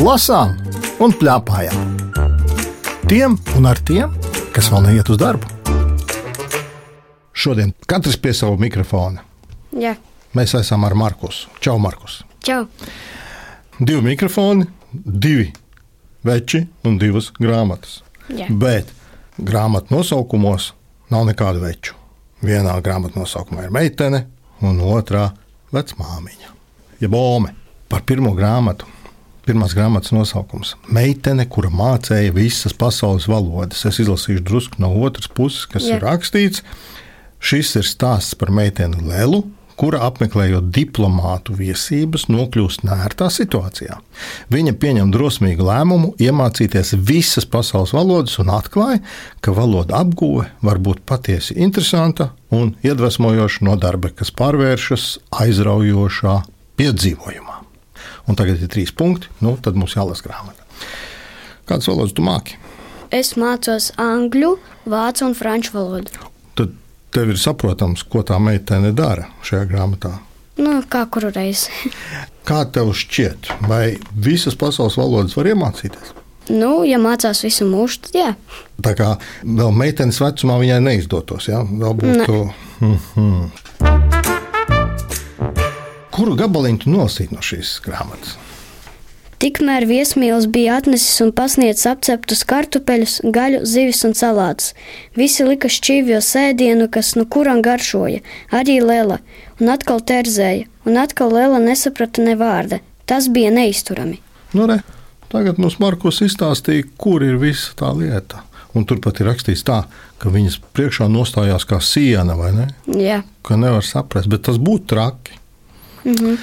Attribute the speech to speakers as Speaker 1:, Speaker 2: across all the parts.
Speaker 1: lasām un plēpājām. Tiem un ar tiem, kas vēl neiet uz darbu. Šodien katrs pie sava mikrofona.
Speaker 2: Jā,
Speaker 1: Mēs esam ar Markusu. Čau, Markus.
Speaker 2: čau.
Speaker 1: Divi mikrofoni, divi veči un divas grāmatas.
Speaker 2: Jā.
Speaker 1: Bet grāmatu nosaukumos nav nekādu veču. Vienā grāmatā nosaukumā ir meitene, un otrā - vecmāmiņa. Jeb Ome par pirmo grāmatu. Pirmās grāmatas nosaukums - Meitene, kura mācīja visas pasaules valodas. Es izlasīšu drusku no otras puses, kas
Speaker 2: Jā.
Speaker 1: Jā. ir rakstīts. Šis ir stāsts par meiteni Lelu, kura apmeklējot diplomātu viesības, nokļūst nērtā situācijā. Viņa pieņem drosmīgu lēmumu iemācīties visas pasaules valodas un atklāja, ka valoda apgūve var būt patiesi interesanta un iedvesmojoša nodarbe, kas pārvēršas aizraujošā piedzīvojumā. Un tagad ir trīs punkti, nu, tad mums jālasa grāmata. Kādas valodas tu māki?
Speaker 2: Es mācos angļu, vācu un franču valodu.
Speaker 1: Tad tev ir saprotams, ko tā meitene dara šajā grāmatā.
Speaker 2: Nu, kā kuru reizi.
Speaker 1: Kā tev šķiet, vai visas pasaules valodas var iemācīties?
Speaker 2: nu, ja mācās visu mūžu, tad jā.
Speaker 1: Tā kā vēl meitenes vecumā viņai neizdotos, ja? vēl būtu. Mm -hmm. Kuru gabaliņu tu nolasīji no šīs grāmatas?
Speaker 2: Tikmēr viesmīlis bija atnesis un pasniedzis apceptus kartupeļus, gaļu, zivis un salātus. Visi lika šķīvjo sēdienu, kas nu kuram garšoja, arī Lela, un atkal terzēja, un atkal Lela nesaprata ne vārda. Tas bija neizturami.
Speaker 1: Nu, re, tagad mums Markus izstāstīja, kur ir visa tā lieta. Un turpat ir rakstīts tā, ka viņas priekšā nostājās kā siena, vai ne?
Speaker 2: Jā,
Speaker 1: ka nevar saprast, bet tas būtu traki.
Speaker 2: Mhm.
Speaker 1: Mm -hmm.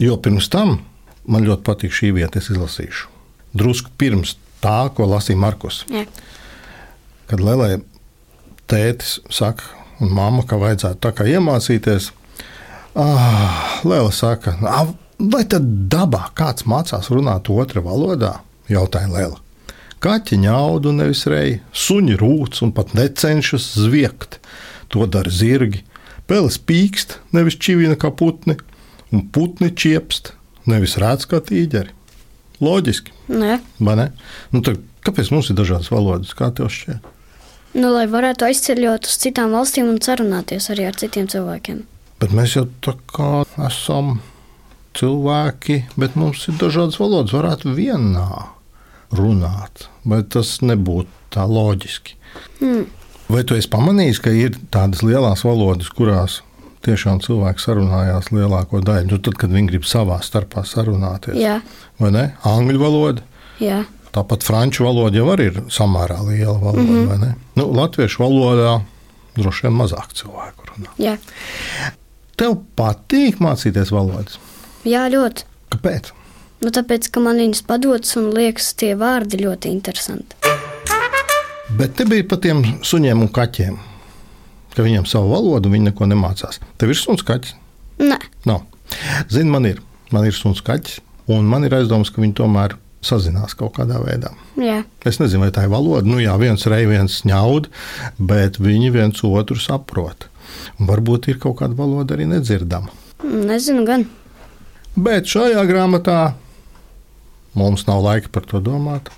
Speaker 1: Jo pirms tam man ļoti patīk šī vieta, es izlasīšu. Drusku pirms tā, ko lasīja Markus.
Speaker 2: jā.
Speaker 1: Kad Lelai tētis saka, un mamma, ka vajadzētu tā kā iemācīties, ah, Lēla saka, "Ah, vai tad dabā kāds mācās runāt otrā valodā? Jautāja Lēla. Kaķi ņaudu nevis reji, suņi rūc un pat necenšas zviegt. To dara zirgi. Pēles pīkst, nevis čivina kā putni, un putni čiepst, nevis rēc kā tīģeri. Loģiski,
Speaker 2: Nē.
Speaker 1: vai ne? Nu, tad, kāpēc mums ir dažādas valodas? Kā tev šķiet?
Speaker 2: Nu, lai varētu aizceļot uz citām valstīm un sarunāties arī ar citiem cilvēkiem.
Speaker 1: Bet mēs jau tā kā esam cilvēki, bet mums ir dažādas valodas. Varētu vienā runāt, bet tas nebūtu tā loģiski.
Speaker 2: Mm.
Speaker 1: Vai tu esi pamanījis, ka ir tādas lielas valodas, kurās tiešām cilvēki sarunājās lielāko daļu? Nu, tad, kad viņi grib savā starpā sarunāties,
Speaker 2: Jā,
Speaker 1: vai ne? Angļu valoda.
Speaker 2: jā.
Speaker 1: Tāpat franču valoda jau arī ir samērā liela valoda, mm -hmm. vai ne? Nu, latviešu valodā droši vien mazāk cilvēku runā.
Speaker 2: Jā,
Speaker 1: Tev patīk mācīties valodas.
Speaker 2: jā ļoti.
Speaker 1: Kāpēc?
Speaker 2: Nu, tāpēc, ka man viņas padodas un liekas, tie vārdi ļoti interesanti.
Speaker 1: Bet te bija par tiem suņiem un kaķiem. Ka viņiem savu valodu viņi neko nemācās. Tev ir suns kaķis?
Speaker 2: Nē,
Speaker 1: Nav. Zini, man ir. Man ir suns kaķis, un man ir aizdomas, ka viņi tomēr sazinās kaut kādā veidā.
Speaker 2: jā,
Speaker 1: Es nezinu, vai tā ir valoda. Nu, jā, viens reizes viens ņaud, bet viņi viens otru saprot. Un varbūt ir kaut kāda valoda arī nedzirdama.
Speaker 2: nezinu gan.
Speaker 1: Bet šajā grāmatā mums nav laika par to domāt.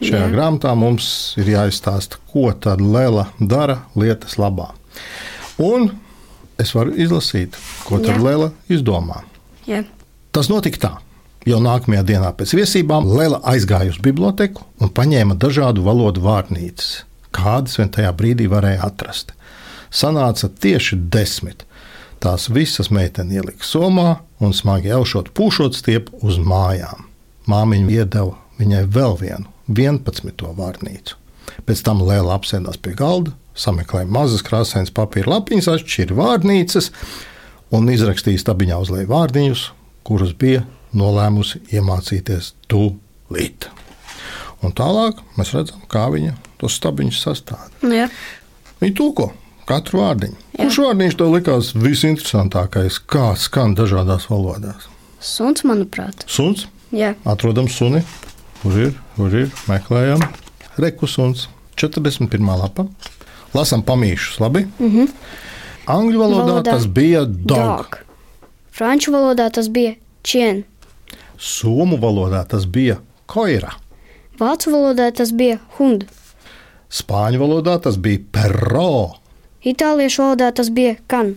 Speaker 1: Šajā Jā.
Speaker 2: Jā.
Speaker 1: grāmatā mums ir jāizstāsta, ko tad Lēla dara lietas labā. Un es varu izlasīt, ko tad
Speaker 2: Jā.
Speaker 1: Lēla izdomā.
Speaker 2: Jā,
Speaker 1: Tas notika tā. Jau nākamajā dienā pēc viesībām Lēla aizgāja uz biblioteku un paņēma dažādu valodu vārnīcas, kādas vien tajā brīdī varēja atrast. Sanāca tieši desmit. Tās visas meitene ielika somā un smagi elšot, pūšot stiep uz mājām. Māmiņa iedeva viņai vēl vienu, 11. vārnīcu. Pēc tam Lēla apsēdās pie galda, sameklēja mazas krāsainas papīra lapiņas, atšķīra vārnīcas un izrakstīja stabiņā uz leju vārdiņus, kurus bija nolēmusi iemācīties tūlīt. Un tālāk mēs redzam, kā viņa tos stabiņus sastāv.
Speaker 2: Nu, jā,
Speaker 1: Viņa tulko katru vārdiņu. Kurš vārdiņš tev likās visinteresantākais, kā skan dažādās valodās?
Speaker 2: suns, manuprāt.
Speaker 1: Suns,
Speaker 2: Jā,
Speaker 1: atrodam suni, kur ir, kur ir, meklējam, rekusuns, 41. lapa. Lasām pamīšus, labi? Mm -hmm. Angļu valodā,
Speaker 2: Valodā
Speaker 1: valodā tas bija dog. dog.
Speaker 2: dog. Franču valodā tas bija čien.
Speaker 1: Somu valodā tas bija koira.
Speaker 2: Vācu valodā tas bija hund,
Speaker 1: Spāņu valodā tas bija perro,
Speaker 2: itāliešu valodā tas bija kan,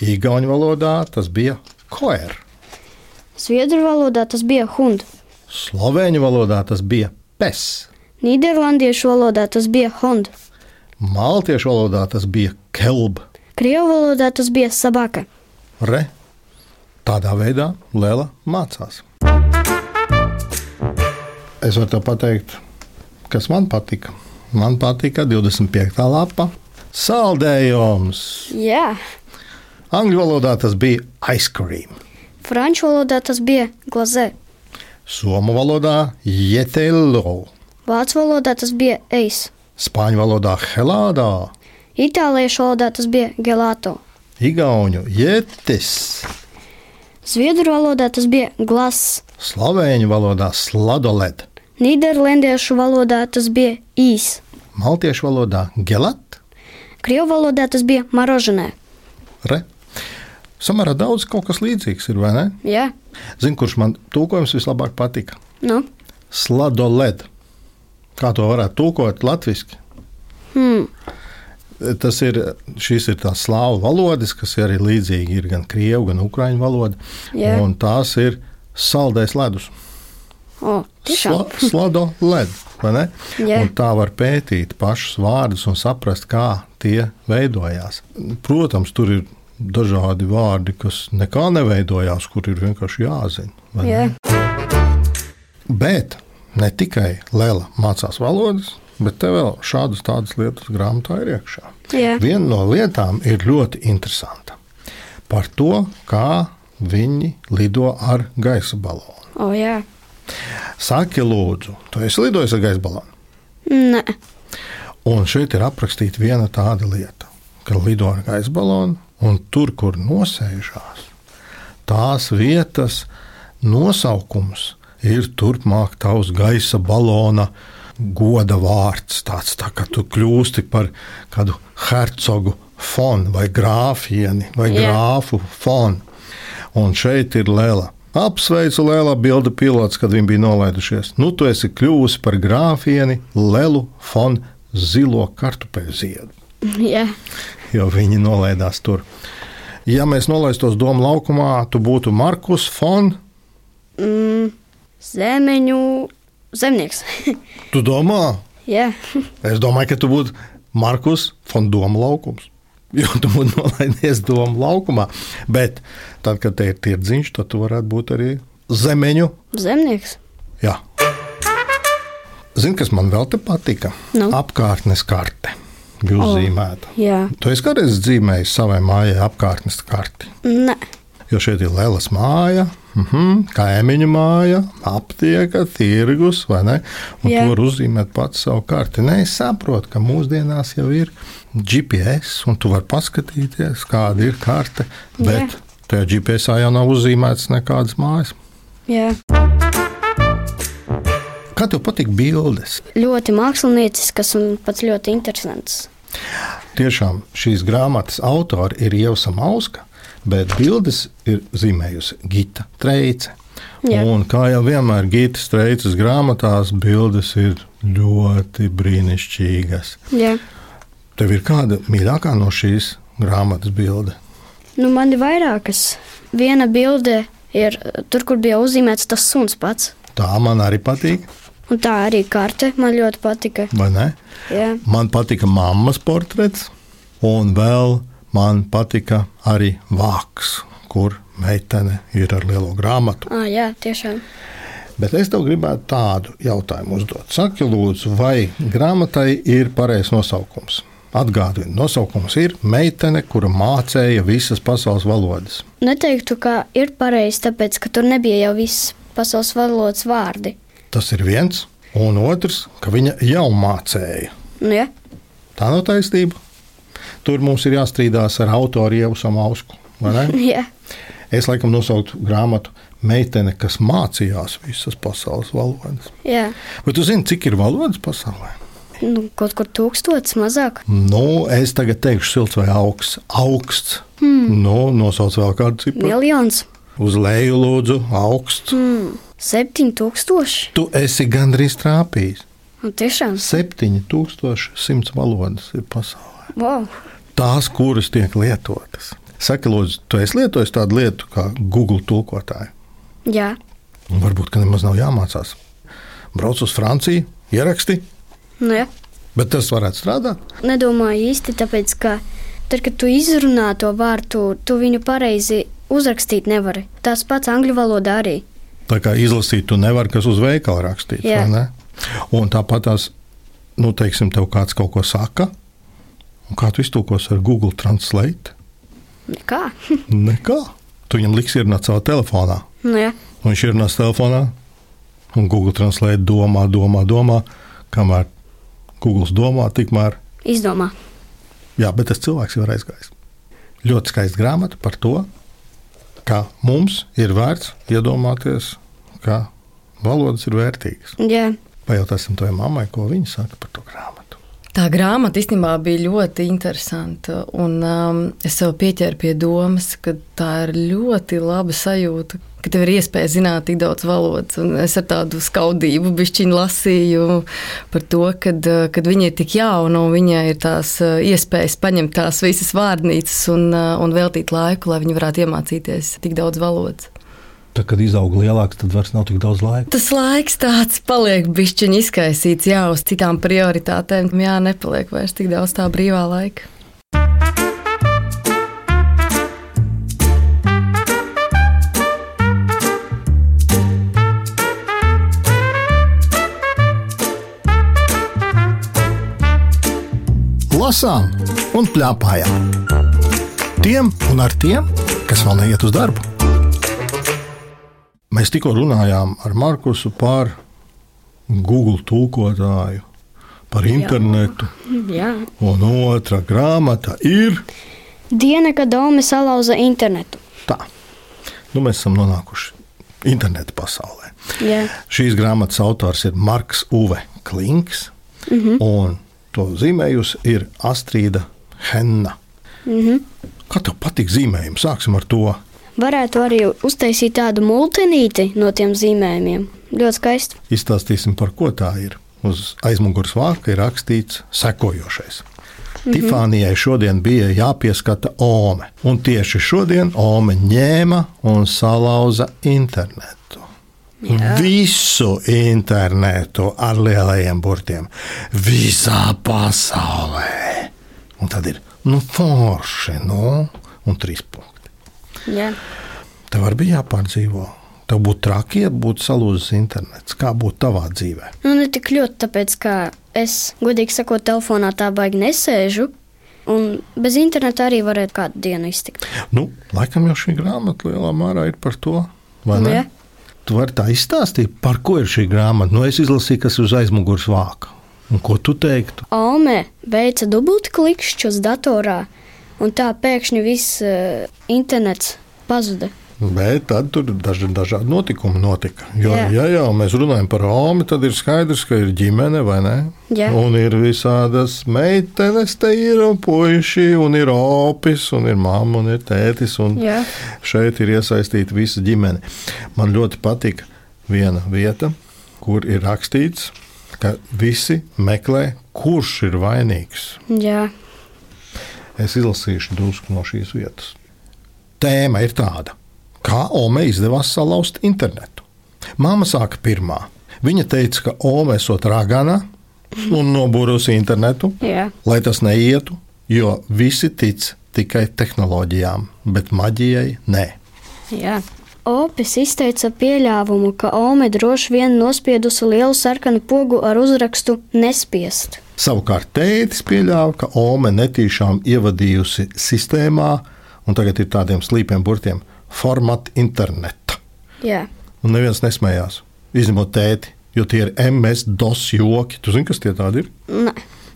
Speaker 1: Igaunijas valodā tas bija koer,
Speaker 2: zviedru valodā tas bija hund,
Speaker 1: Slovēņu valodā tas bija pes,
Speaker 2: nīderlandiešu valodā tas bija hond,
Speaker 1: Maltiešu valodā tas bija kelb.
Speaker 2: krievu valodā tas bija sabaka.
Speaker 1: Re. Tādā veidā Lēla mācās. Es varu tev pateikt, kas man patika. Man patika 25. lapa saldējums.
Speaker 2: Jā,
Speaker 1: Angļu valodā tas bija ice cream,
Speaker 2: franču valodā tas bija glazē,
Speaker 1: somu valodā jetelo,
Speaker 2: vācu valodā tas bija eis,
Speaker 1: spāņu valodā helādā,
Speaker 2: itāliešu valodā tas bija gelato,
Speaker 1: igauņu jetes,
Speaker 2: zviedru valodā tas bija glass,
Speaker 1: slovēņu valodā sladoled,
Speaker 2: nīderlandiešu valodā tas bija īs,
Speaker 1: maltiešu valodā gelat.
Speaker 2: krievu valodā tas bija maroženē.
Speaker 1: Re. Samērā daudz kaut kas līdzīgs ir, vai ne?
Speaker 2: Jā,
Speaker 1: Zini, kurš man tūkojums vislabāk patika?
Speaker 2: nu,
Speaker 1: Sladoled. Kā to varētu tūkot latviešu?
Speaker 2: hmm.
Speaker 1: Tas ir, šīs ir tās slāvu valodas, kas ir arī līdzīgi ir gan krievu, gan ukraiņu valoda.
Speaker 2: Jā.
Speaker 1: Un tās ir saldēs ledus.
Speaker 2: o, tiešām.
Speaker 1: Sla, slado led, vai ne?
Speaker 2: Jā.
Speaker 1: Un tā var pētīt pašus vārdus un saprast, kā tie veidojās. Protams, tur ir dažādi vārdi, kas nekā neveidojās, kur ir vienkārši jāzina. vai ne?
Speaker 2: Jā.
Speaker 1: Bet ne tikai Lēla mācās valodas, bet te vēl šādas tādas lietas grāmatā ir iekšā.
Speaker 2: Jā.
Speaker 1: Viena no lietām ir ļoti interesanta. Par to, kā viņi lido ar gaisa balonu.
Speaker 2: O, jā.
Speaker 1: Saki, lūdzu, tu esi lidojis ar gaisa balonu.
Speaker 2: Nē,
Speaker 1: Un šeit ir aprakstīta viena tāda lieta, ka lido ar gaisa balonu un tur, kur nosēžās, tās vietas nosaukums ir turpmāk tavs gaisa balona goda vārds. Tāds tā kā tu kļūsti par kādu hercogu fonu vai grāfieni vai
Speaker 2: Jā.
Speaker 1: grāfu fonu. Un šeit ir Lēla. Apsveicu Lēlā bilda pilots, kad viņi bija nolaidušies. Nu, tu esi kļuvusi par grāfieni Lelu fon zilo kartupeļu ziedu,
Speaker 2: jā.
Speaker 1: jo viņi nolaidās tur. Ja mēs nolaistos domu laukumā, tu būtu Markus Fon.
Speaker 2: Mm, zemeņu zemnieks.
Speaker 1: Tu domā,
Speaker 2: jā,
Speaker 1: es domāju, ka tu būtu Markus Fon domu laukums. Jo tu būtu nolaidies domu laukumā. Bet tad, kad te ir tirdziņš, tad tu varētu būt arī zemeņu
Speaker 2: zemnieks.
Speaker 1: Jā. Zini, kas man vēl te patika?
Speaker 2: Nu?
Speaker 1: Apkārtnes karte. Jūs oh. zīmējat.
Speaker 2: Jā,
Speaker 1: Tu esi kādreiz zīmējis savai mājai apkārtnes karti.
Speaker 2: nē,
Speaker 1: Jo šeit ir Lielas māja, uh -huh, kaimiņu māja, aptieka, tirgus, vai ne? Un
Speaker 2: Jā.
Speaker 1: tu vari uzzīmēt pats savu karti. Nē, es saprotu, ka mūsdienās jau ir GPS, un tu vari paskatīties, kāda ir karte. Bet
Speaker 2: Jā.
Speaker 1: tajā GPS jau nav uzzīmēts nekādas mājas.
Speaker 2: jā.
Speaker 1: Kā tev patīk bildes?
Speaker 2: Ļoti māksliniecisks un pats ļoti interesants.
Speaker 1: Tiešām šīs grāmatas autori ir Ievsa Mauska, bet bildes ir zīmējusi Gita Treice.
Speaker 2: Jā.
Speaker 1: Un kā jau vienmēr Gita Treices grāmatās, bildes ir ļoti brīnišķīgas.
Speaker 2: Jā.
Speaker 1: Tev ir kāda mīļākā no šīs grāmatas bilde?
Speaker 2: Nu, man ir vairākas. Viena bilde ir eh, tur, kur bija uzzīmēts tas suns pats.
Speaker 1: Tā man arī patīk,
Speaker 2: Un tā arī karte man ļoti patika.
Speaker 1: vai ne?
Speaker 2: Jā,
Speaker 1: Man patika mammas portrets, un vēl man patika arī vāks, kur meitene ir ar lielo grāmatu.
Speaker 2: à, jā tiešām.
Speaker 1: Bet es tev gribētu tādu jautājumu uzdot. Saki, lūdzu, vai grāmatai ir pareizs nosaukums? Atgādini, nosaukums ir meitene, kura mācīja visas pasaules valodas.
Speaker 2: Neteiktu, ka ir pareizi, tāpēc, ka tur nebija jau viss pasaules valodas vārdi.
Speaker 1: Tas ir viens, un otrs, ka viņa jau mācīja.
Speaker 2: Nu, jā.
Speaker 1: Tā nav taisnība. Tur mums ir jāstrīdās ar autoru Ievu Samausku. vai ne?
Speaker 2: jā,
Speaker 1: Es laikam nosauktu grāmatu Meitene, kas mācījās visas pasaules valodas.
Speaker 2: jā.
Speaker 1: Bet tu zini, cik ir valodas pasaulē?
Speaker 2: Nu, kaut kur tūkstotis mazāk.
Speaker 1: Nu, es tagad teikšu, silts vai augsts. augsts. Hmm. Nu, nosauc vēl kādu ciparu.
Speaker 2: Miljons.
Speaker 1: Uz leju, lūdzu, augsts. Hmm.
Speaker 2: 7000.
Speaker 1: Tu esi gandrīz trāpījis.
Speaker 2: Nu, tiešām,
Speaker 1: 7100 valodas ir pasaulē.
Speaker 2: wow.
Speaker 1: Tās, kuras tiek lietotas. Saka, lūdzu, tu esi lietojis tādu lietu kā Google tulkotāju.
Speaker 2: Jā,
Speaker 1: Un Varbūt, ka nemaz nav jāmācās. Brauc uz Franciju, ieraksti,
Speaker 2: nu, jā.
Speaker 1: bet tas varētu strādāt.
Speaker 2: Nedomāju īsti, tāpēc, ka tad, kad tu izrunā to vārtu, tu viņu pareizi uzrakstīt nevari. Tas pats angļu valodā arī.
Speaker 1: Tā kā izlasīt, tu nevari kas uz veikala rakstīt.
Speaker 2: Jā.
Speaker 1: vai ne? Un tāpat tās, nu, teiksim, tev kāds kaut ko saka, un kā tu iztūkos ar Google Translate?
Speaker 2: Nekā.
Speaker 1: Nekā. Tu viņam liks ierunāt savā telefonā.
Speaker 2: nu, jā.
Speaker 1: Un viņš ierunās telefonā, un Google Translate domā, domā, domā. Kamēr Google domā, tikmēr.
Speaker 2: Izdomā.
Speaker 1: Jā, bet tas cilvēks jau ir aizgājis. Ļoti skaista grāmata par to, ka mums ir vērts iedomāties, ka valodas ir vērtīgas.
Speaker 2: Jā.
Speaker 1: Pajautāsim to mammai, ko viņa saka par to grāmatu.
Speaker 3: Tā grāmata īstenībā bija ļoti interesanta. Un, um, es sev pieķēru pie domas, ka tā ir ļoti laba sajūta, ka tev ir iespēja zināt tik daudz valodas. Un es ar tādu skaudību bišķiņu lasīju par to, kad, uh, kad viņa ir tik jauna un viņai ir tās uh, iespējas paņemt tās visas vārnīcas un, uh, un veltīt laiku, lai viņa varētu iemācīties tik daudz valodas.
Speaker 1: Tad, kad izaug lielāks, tad vairs nav tik daudz laika.
Speaker 3: Tas laiks tāds paliek bišķiņu izkaisīts, jā, uz citām prioritātēm. Jā, nepaliek vairs tik daudz tā brīvā laika.
Speaker 1: Lasām un plēpājām. Tiem un ar tiem, kas vēl neiet uz darbu. Mēs tikko runājām ar Markusu par Google tūkotāju, par internetu.
Speaker 2: Jā.
Speaker 1: Un otra grāmata ir
Speaker 2: Diena, kad Dome salauza internetu.
Speaker 1: tā. Nu, mēs esam nonākuši interneta pasaulē.
Speaker 2: Jā.
Speaker 1: Šīs grāmatas autors ir Marks Uve Klinks, mm -hmm. un to zīmējusi ir Astrīda Henna. Mm -hmm. Kā tev patīk zīmējumi? Sāksim ar to.
Speaker 2: Varētu arī uztaisīt tādu multinīti no tiem zīmējumiem. Ļoti skaisti.
Speaker 1: Izstāstīsim, par ko tā ir. Uz aizmugures vārka ir rakstīts sekojošais. Mm -hmm. Tifānijai šodien bija jāpieskata Ome, un tieši šodien Ome ņēma un salauza internetu. Jā. Visu internetu ar lielajiem burtiem, visā pasaulē. Un tad ir nu, forši, nu, un trīs punkti.
Speaker 2: Jā.
Speaker 1: Tev arī bija jāpārdzīvo. Tev būtu traki, ja būtu salūzis internets. Kā būtu tavā dzīvē?
Speaker 2: Nu, ne tik ļoti, tāpēc, ka es, godīgi sakot, telefonā tā baigi nesēžu. Un bez interneta arī varētu kādu dienu iztikt.
Speaker 1: Nu, laikam jau šī grāmata lielā mērā ir par to. vai
Speaker 2: Nu,
Speaker 1: ne?
Speaker 2: jā.
Speaker 1: Tu vari tā izstāstīt, par ko ir šī grāmata. Nu, es izlasīju, kas ir uz aizmugures vāka. Un ko tu teiktu?
Speaker 2: Alme veica dubultklikšķus datorā, un tā pēkšņi viss uh, internets pazuda.
Speaker 1: Bet tad tur daži, dažādi notikumi notika. Jo,
Speaker 2: Jā.
Speaker 1: ja jau mēs runājam par Romu, tad ir skaidrs, ka ir ģimene vai ne?
Speaker 2: Jā.
Speaker 1: Un ir visādas meitenes, te ir un puiši, un ir opis, un ir mamma, un ir tētis. Un
Speaker 2: Jā.
Speaker 1: šeit ir iesaistīta visa ģimene. Man ļoti patīk viena vieta, kur ir rakstīts, ka visi meklē, kurš ir vainīgs.
Speaker 2: Jā,
Speaker 1: Es izlasīšu drusku no šīs vietas. Tēma ir tāda, kā Ome izdevās salauzt internetu. Māma sāka pirmā. Viņa teica, ka Ome esot ragana un nobūrusi internetu,
Speaker 2: jā,
Speaker 1: lai tas neietu, jo visi tic tikai tehnoloģijām, bet maģijai nē.
Speaker 2: jā. Opis izteica pieļāvumu, ka Ome droši vien nospiedusi lielu sarkanu pogu ar uzrakstu Nespiest.
Speaker 1: Savukārt tētis pieļāva, ka Ome netīšām ievadījusi sistēmā, un tagad ir tādiem slīpiem burtiem - formāta interneta.
Speaker 2: Jā,
Speaker 1: Un neviens nesmējās. Izņemot tēti, jo tie ir MS-DOS joki. Tu zini, kas tie tādi ir?
Speaker 2: Nē.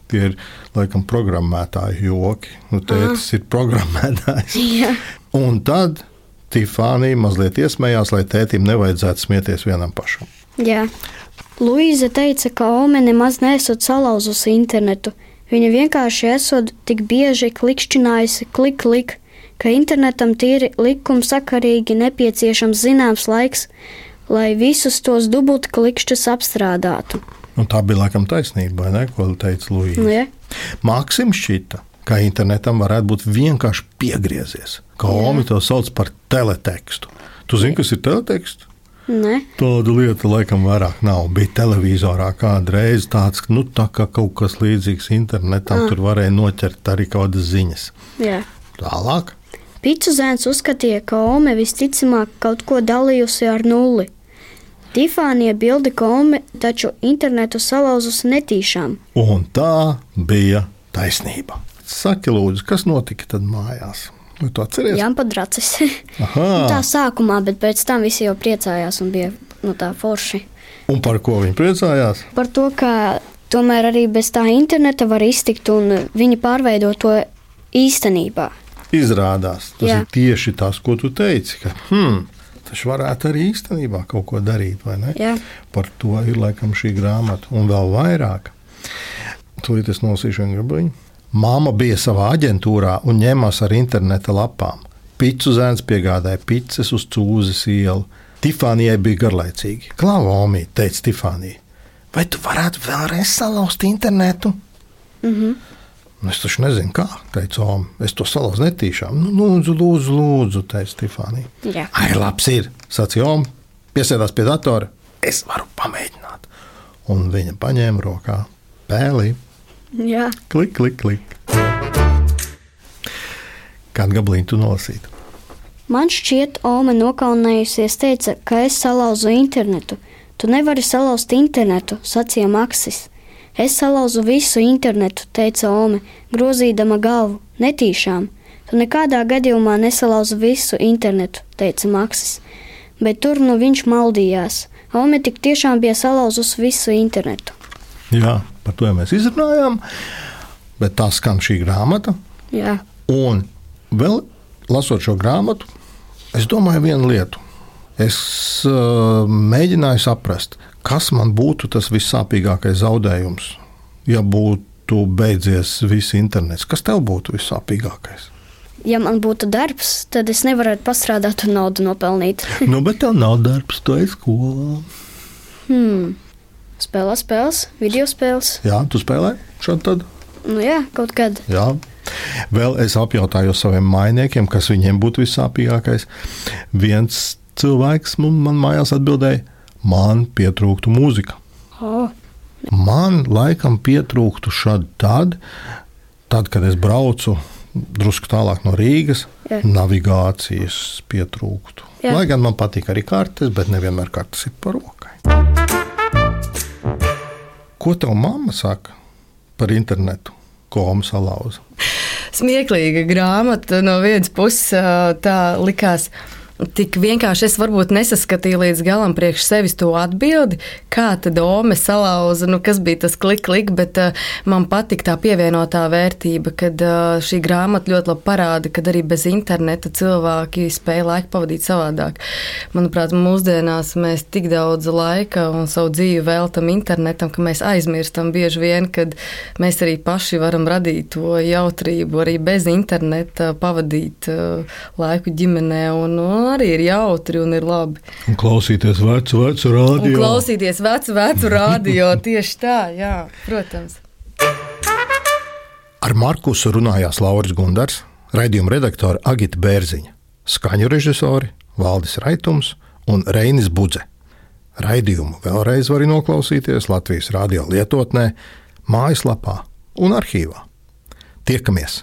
Speaker 1: Tie ir laikam programmētāji joki. Nu, tētis ir programmētājs.
Speaker 2: jā,
Speaker 1: Un tad Tifānija mazliet iesmējās, lai tētim nevajadzētu smieties vienam pašam.
Speaker 2: jā. Luīza teica, ka Ome nemaz nesot salauzusi internetu. Viņa vienkārši esot tik bieži klikšķinājusi klik, klik, ka internetam tīri likumsakarīgi nepieciešams zināms laiks, lai visus tos dubultklikšķus apstrādātu.
Speaker 1: Un tā bija laikam taisnība, vai ne, ko teica Lūija.
Speaker 2: Nu, ja?
Speaker 1: Mākslinieks šķita, ka internetam varētu būt vienkārši piegriezies. Kā Omi to sauc par teletekstu. Tu zini, kas ir teleteksts?
Speaker 2: Nē,
Speaker 1: Tāda lieta laikam vairāk nav. Bija televizorā kādreiz tāds, nu, tā kā kaut kas līdzīgs internetam, tur varēja noķert arī kādas ziņas.
Speaker 2: jā.
Speaker 1: Tālāk.
Speaker 2: Pitsuzēns uzskatīja, ka Ome visticamāk kaut ko dalījusi ar nulli. Tifānija bildi, ka Ome taču internetu salauzusi netīšām.
Speaker 1: Un tā bija taisnība. Saki, lūdzu, kas notika tad mājās? Vai tu atceries?
Speaker 2: Jā, padracis.
Speaker 1: Aha.
Speaker 2: Nu, tā sākumā, bet pēc tam visi jau priecājās un bija nu, tā forši.
Speaker 1: Un par ko viņi priecājās?
Speaker 2: Par to, ka tomēr arī bez tā interneta var iztikt un viņi pārveido to īstenībā.
Speaker 1: Izrādās, tas
Speaker 2: Jā.
Speaker 1: Jā. ir tieši tas, ko tu teici. Ka, hmm, tas varētu arī īstenībā kaut ko darīt, vai ne?
Speaker 2: Jā.
Speaker 1: Par to ir laikam šī grāmata, un vēl vairāk. Tūlīt es nolasīšu vienu grabiņu. Māma bija savā aģentūrā un ņēmās ar interneta lapām. Pitsu zēns piegādāja pizzas uz cūzes ielu. Tifānijai bija garlaicīgi. Klāva Omī, teica Tifānija, vai tu varētu vēlreiz salauzt internetu? Nu, Es taču nezinu, kā, teica Oma. Es to salauzu netīšām. Nu, lūdzu, lūdzu, lūdzu teica Stefānija.
Speaker 2: Jā.
Speaker 1: Ai, labs ir, sacīja Oma. Piesēdās pie datora. Es varu pamēģināt. Un viņa paņēma rokā pēli.
Speaker 2: Jā,
Speaker 1: Klik, klik, klik. Kādu gabalīnu tu nolasītu?
Speaker 2: Man šķiet, Ome nokaunējusies teica, ka es salauzu internetu. Tu nevari salauzt internetu, sacīja Maksis. Es salauzu visu internetu, teica Ome, grozīdama galvu, netīšām. Tu nekādā gadījumā nesalauzi visu internetu, teica Maksis. Bet tur nu viņš maldījās. Ome tik tiešām bija salauzusi visu internetu.
Speaker 1: Jā, par to jau mēs izrunājām. Bet tā skan šī grāmata.
Speaker 2: Jā,
Speaker 1: Un vēl lasot šo grāmatu, es domāju vienu lietu. Es uh, mēģināju saprast, kas man būtu tas vissāpīgākais zaudējums, ja būtu beidzies viss internets. Kas tev būtu vissāpīgākais?
Speaker 2: ja man būtu darbs, tad es nevarētu pastrādāt un naudu nopelnīt.
Speaker 1: Nu, bet tev nav darbs, tu esi skolā.
Speaker 2: Hmm. Spēlē spēles, video spēles.
Speaker 1: Jā, tu spēlē šādu tad.
Speaker 2: Nu jā, kaut kad.
Speaker 1: Jā. Vēl es apjautāju saviem mainiekiem, kas viņiem būtu vissāpīgākais. Viens cilvēks man, man mājās atbildēja, man pietrūktu mūzika.
Speaker 2: Oh.
Speaker 1: Man laikam pietrūktu šādi tad, tad, kad es braucu drusku tālāk no Rīgas, Jā.
Speaker 2: Jā.
Speaker 1: navigācijas pietrūktu.
Speaker 2: Jā.
Speaker 1: Jā. Lai gan man patīk arī kartes, bet nevienmēr kartes ir par rokai. Ko tev mamma saka par internetu? Ko mums salauza?
Speaker 3: smieklīga grāmata. No vienas puses, ā, tā likās. Tik vienkārši es varbūt nesaskatīju līdz galam priekš sevis to atbildi, kā tad Ome salauza, nu kas bija tas klik, klik, bet ā, man patīk tā pievienotā vērtība, kad ā, šī grāmata ļoti labi parāda, kad arī bez interneta cilvēki spēja laiku pavadīt savādāk. Manuprāt, mūsdienās mēs tik daudz laika un savu dzīvi veltam internetam, ka mēs aizmirstam bieži vien, kad mēs arī paši varam radīt to jautrību, arī bez interneta pavadīt eh, laiku ģimenē. Un, un arī ir jautri un ir labi.
Speaker 1: Un klausīties vecu, vecu
Speaker 3: Un
Speaker 1: rādījumu.
Speaker 3: klausīties vecu, vecu radio tieši tā, jā, protams.
Speaker 1: Ar Markusu runājās Lauris Gundars, raidījuma redaktore Agita Bērziņa, skaņu režisori Valdis Raitums un Reinis Budze. Raidījumu vēlreiz var noklausīties Latvijas radio lietotnē, mājaslapā un arhīvā. Tiekamies!